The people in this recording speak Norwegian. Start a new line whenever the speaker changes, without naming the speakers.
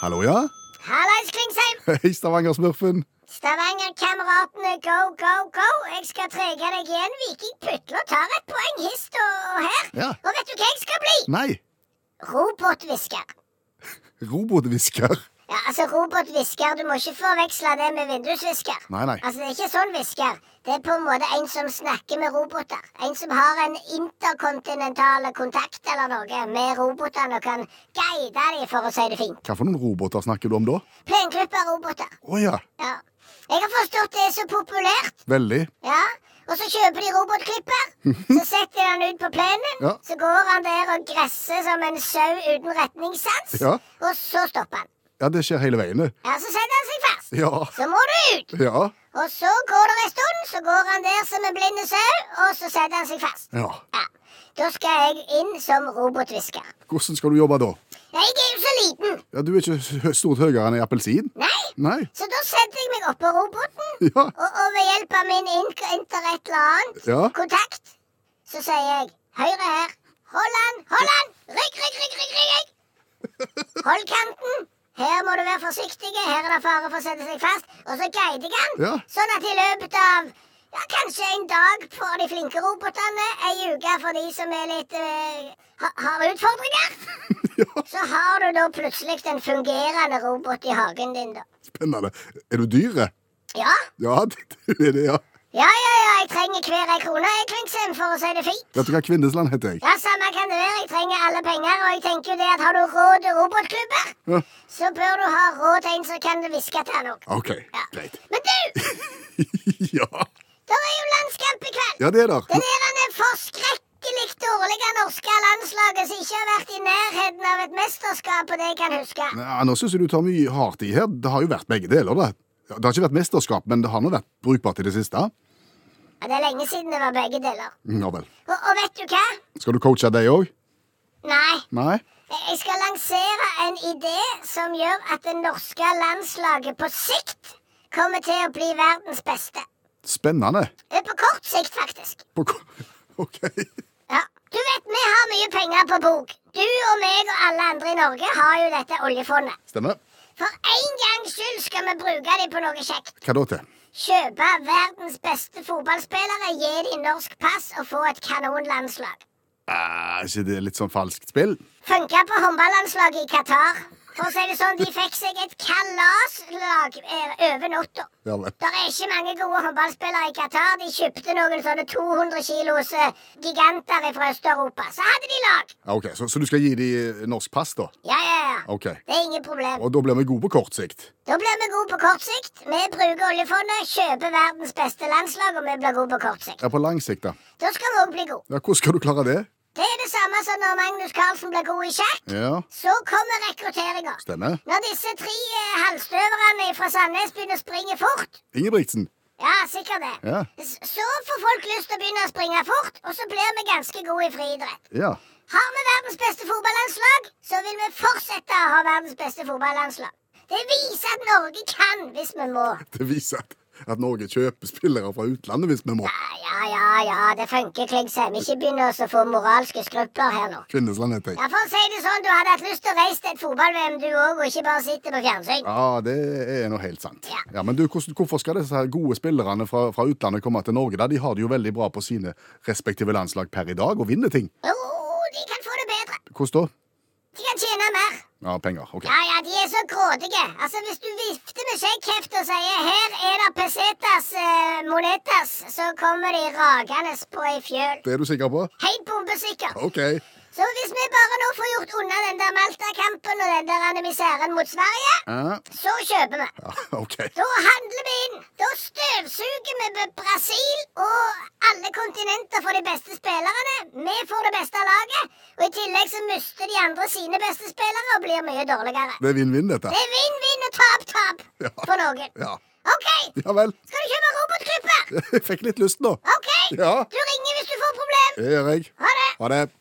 Hallo, ja?
Hallais, Klingsheim!
Hei, Stavanger-smurfen.
Stavanger-kameratene, go, go, go! Jeg skal trege deg igjen. Viking putler tar et poeng hist og og her.
Ja.
Og vet du hva jeg skal bli?
Nei,
Robothvisker.
robotvisker.
Ja, altså Robothvisker, du må ikke forveksle det med vindusvisker.
Nei, nei.
Altså, Det er ikke sånn hvisker. Det er på en måte en som snakker med roboter. En som har en interkontinental kontakt eller noe med robotene og kan guide dem, for å si det fint.
Hva for noen roboter snakker du om da?
Plenklipperroboter.
Å ja,
Ja. Jeg har forstått det er så populært.
veldig.
Ja, og så kjøper de robotklipper. Så setter de han ut på plenen.
Ja.
Så går han der og gresser som en sau uten retningssans.
Ja.
Og så stopper han.
Ja, det skjer hele veien, det.
Ja, Så setter han seg fast.
Ja.
Så må du ut.
Ja.
Og så går det en stund, så går han der som en blinde sau, og så setter han seg fast.
Ja.
Ja. Da skal jeg inn som robothvisker.
Hvordan skal du jobbe da?
Ja, Jeg er jo så liten.
Ja, Du er ikke hø- stort høyere enn ei appelsin?
Nei.
Nei.
Så da setter jeg meg oppå roboten,
Ja.
og, og ved hjelp av min ink- inter et eller annet
Ja.
kontakt, så sier jeg høyre her. Hold an, hold an! Rygg, rygg, rygg, rygg! rygg. Hold kanten. Her må du være forsiktig. Her er det fare for å sette seg fast. Og så guider jeg han,
Ja.
sånn at i løpet av ja, kanskje en dag for de flinke robotene, ei uke for de som er litt eh, ha, har utfordringer,
ja.
så har du da plutselig en fungerende robot i hagen din, da.
Spennende. Er du dyret?
Ja,
Ja, du er det, ja.
ja, ja, ja. jeg trenger hver ei krone, jeg, Klingsheim, for å si det fint.
Vet du hva Kvindesland heter jeg?
Ja, samme kan det være. Jeg trenger alle penger. Og jeg tenker jo det at har du råd til robotklubber,
Ja.
så bør du ha råd til en som kan hviske til han òg.
OK,
Ja.
greit.
Men du,
ja.
det er jo landskamp i kveld.
ja, det er der.
Det der er det forskrekkelig dårlige norske landslaget som ikke har vært i nærheten av et mesterskap på det jeg kan huske.
Ja, nå syns jeg du tar mye hardt i her. Det har jo vært begge deler, det. Ja, Det har ikke vært mesterskap, men det har nå vært brukbart i det siste.
Ja, det er lenge siden det var begge deler.
Ja vel.
Og, og vet du hva?
Skal du coache deg òg?
Nei.
Nei?
Jeg skal lansere en idé som gjør at det norske landslaget på sikt kommer til å bli verdens beste.
Spennende.
Eh, På kort sikt, faktisk.
På ko- OK.
Ja. Du vet, vi har mye penger på bok. Du og meg og alle andre i Norge har jo dette oljefondet.
Stemmer.
For en gangs skyld skal vi bruke dem på noe kjekt.
Hva da til?
Kjøpe verdens beste fotballspillere, gi dem norsk pass og få et kanonlandslag.
Er ikke det litt sånn falskt spill?
Funka på håndballandslaget i Qatar. For å si det sånn, de fikk seg et kalaslag eh, over natta.
Ja vel.
Det er ikke mange gode håndballspillere i Qatar. De kjøpte noen sånne 200 kilos eh, giganter fra Øst-Europa. Så hadde de lag.
Ja, ok, så, så du skal gi de norsk pass, da?
Ja, ja, ja.
OK.
Det er ingen problem.
Og da blir vi gode på kort sikt?
Da blir vi gode på kort sikt. Vi bruker oljefondet, kjøper verdens beste landslag, og vi blir gode på kort sikt.
Ja, på lang sikt, da.
Da skal vi òg bli gode.
Ja, Hvordan skal du klare det?
Det er det samme som når Magnus Carlsen blir god i sjakk.
Ja,
Så kommer rekrutteringa.
stemmer.
Når disse tre eh, halvstøverne fra Sandnes begynner å springe fort
Ingebrigtsen.
Ja, sikkert det.
Ja.
S- Så får folk lyst til å begynne å springe fort, og så blir vi ganske gode i friidrett.
Ja.
Har vi verdens beste fotballandslag, så vil vi fortsette å ha verdens beste fotballandslag. Det viser at Norge kan hvis vi må.
Det viser at, at Norge kjøper spillere fra utlandet hvis vi må.
Ja, ja, ja, ja det funker, Klingsheim. Ikke begynn oss å få moralske skrupler her nå.
Kvinnesland heter jeg.
Ja, For å si det sånn, du hadde hatt lyst til å reise til et fotball-VM, du òg, og ikke bare sitte på fjernsyn.
Ja, det er nå helt sant.
Ja.
Ja, Men du, hvordan- hvorfor skal disse her gode spillerne fra, fra utlandet komme til Norge? da? De har det jo veldig bra på sine respektive landslag per i dag, og vinner ting.
Jo, de kan få det bedre.
Hvordan da?
De kan tjene mer.
Ja, penger. OK.
Ja, ja, de er så grådige. Altså, Hvis du vifter med skjeggkjeft og sier 'her er det pesetas eh, monetas', så kommer de ragende på ei fjøl.
Det er du sikker på?
Helt bombesikker.
OK.
Så hvis vi bare nå får gjort unna den der Malta-kampen og den der anemiseren mot Sverige,
Ja,
så kjøper vi.
ja, OK.
Da handler vi inn. Da støvsuger vi B- Brasil og alle kontinenter for de beste spillerne. Vi får det beste laget. Og i tillegg så mister de andre sine beste spillere og blir mye dårligere.
Det er vinn-vinn, dette.
Det er vinn-vinn og tap-tap
Ja.
for noen.
Ja.
OK,
ja vel.
skal du kjøpe robotklipper?
Jeg fikk litt lyst nå.
OK,
Ja.
du ringer hvis du får problem.
Det gjør jeg.
Ha det.
Ha det.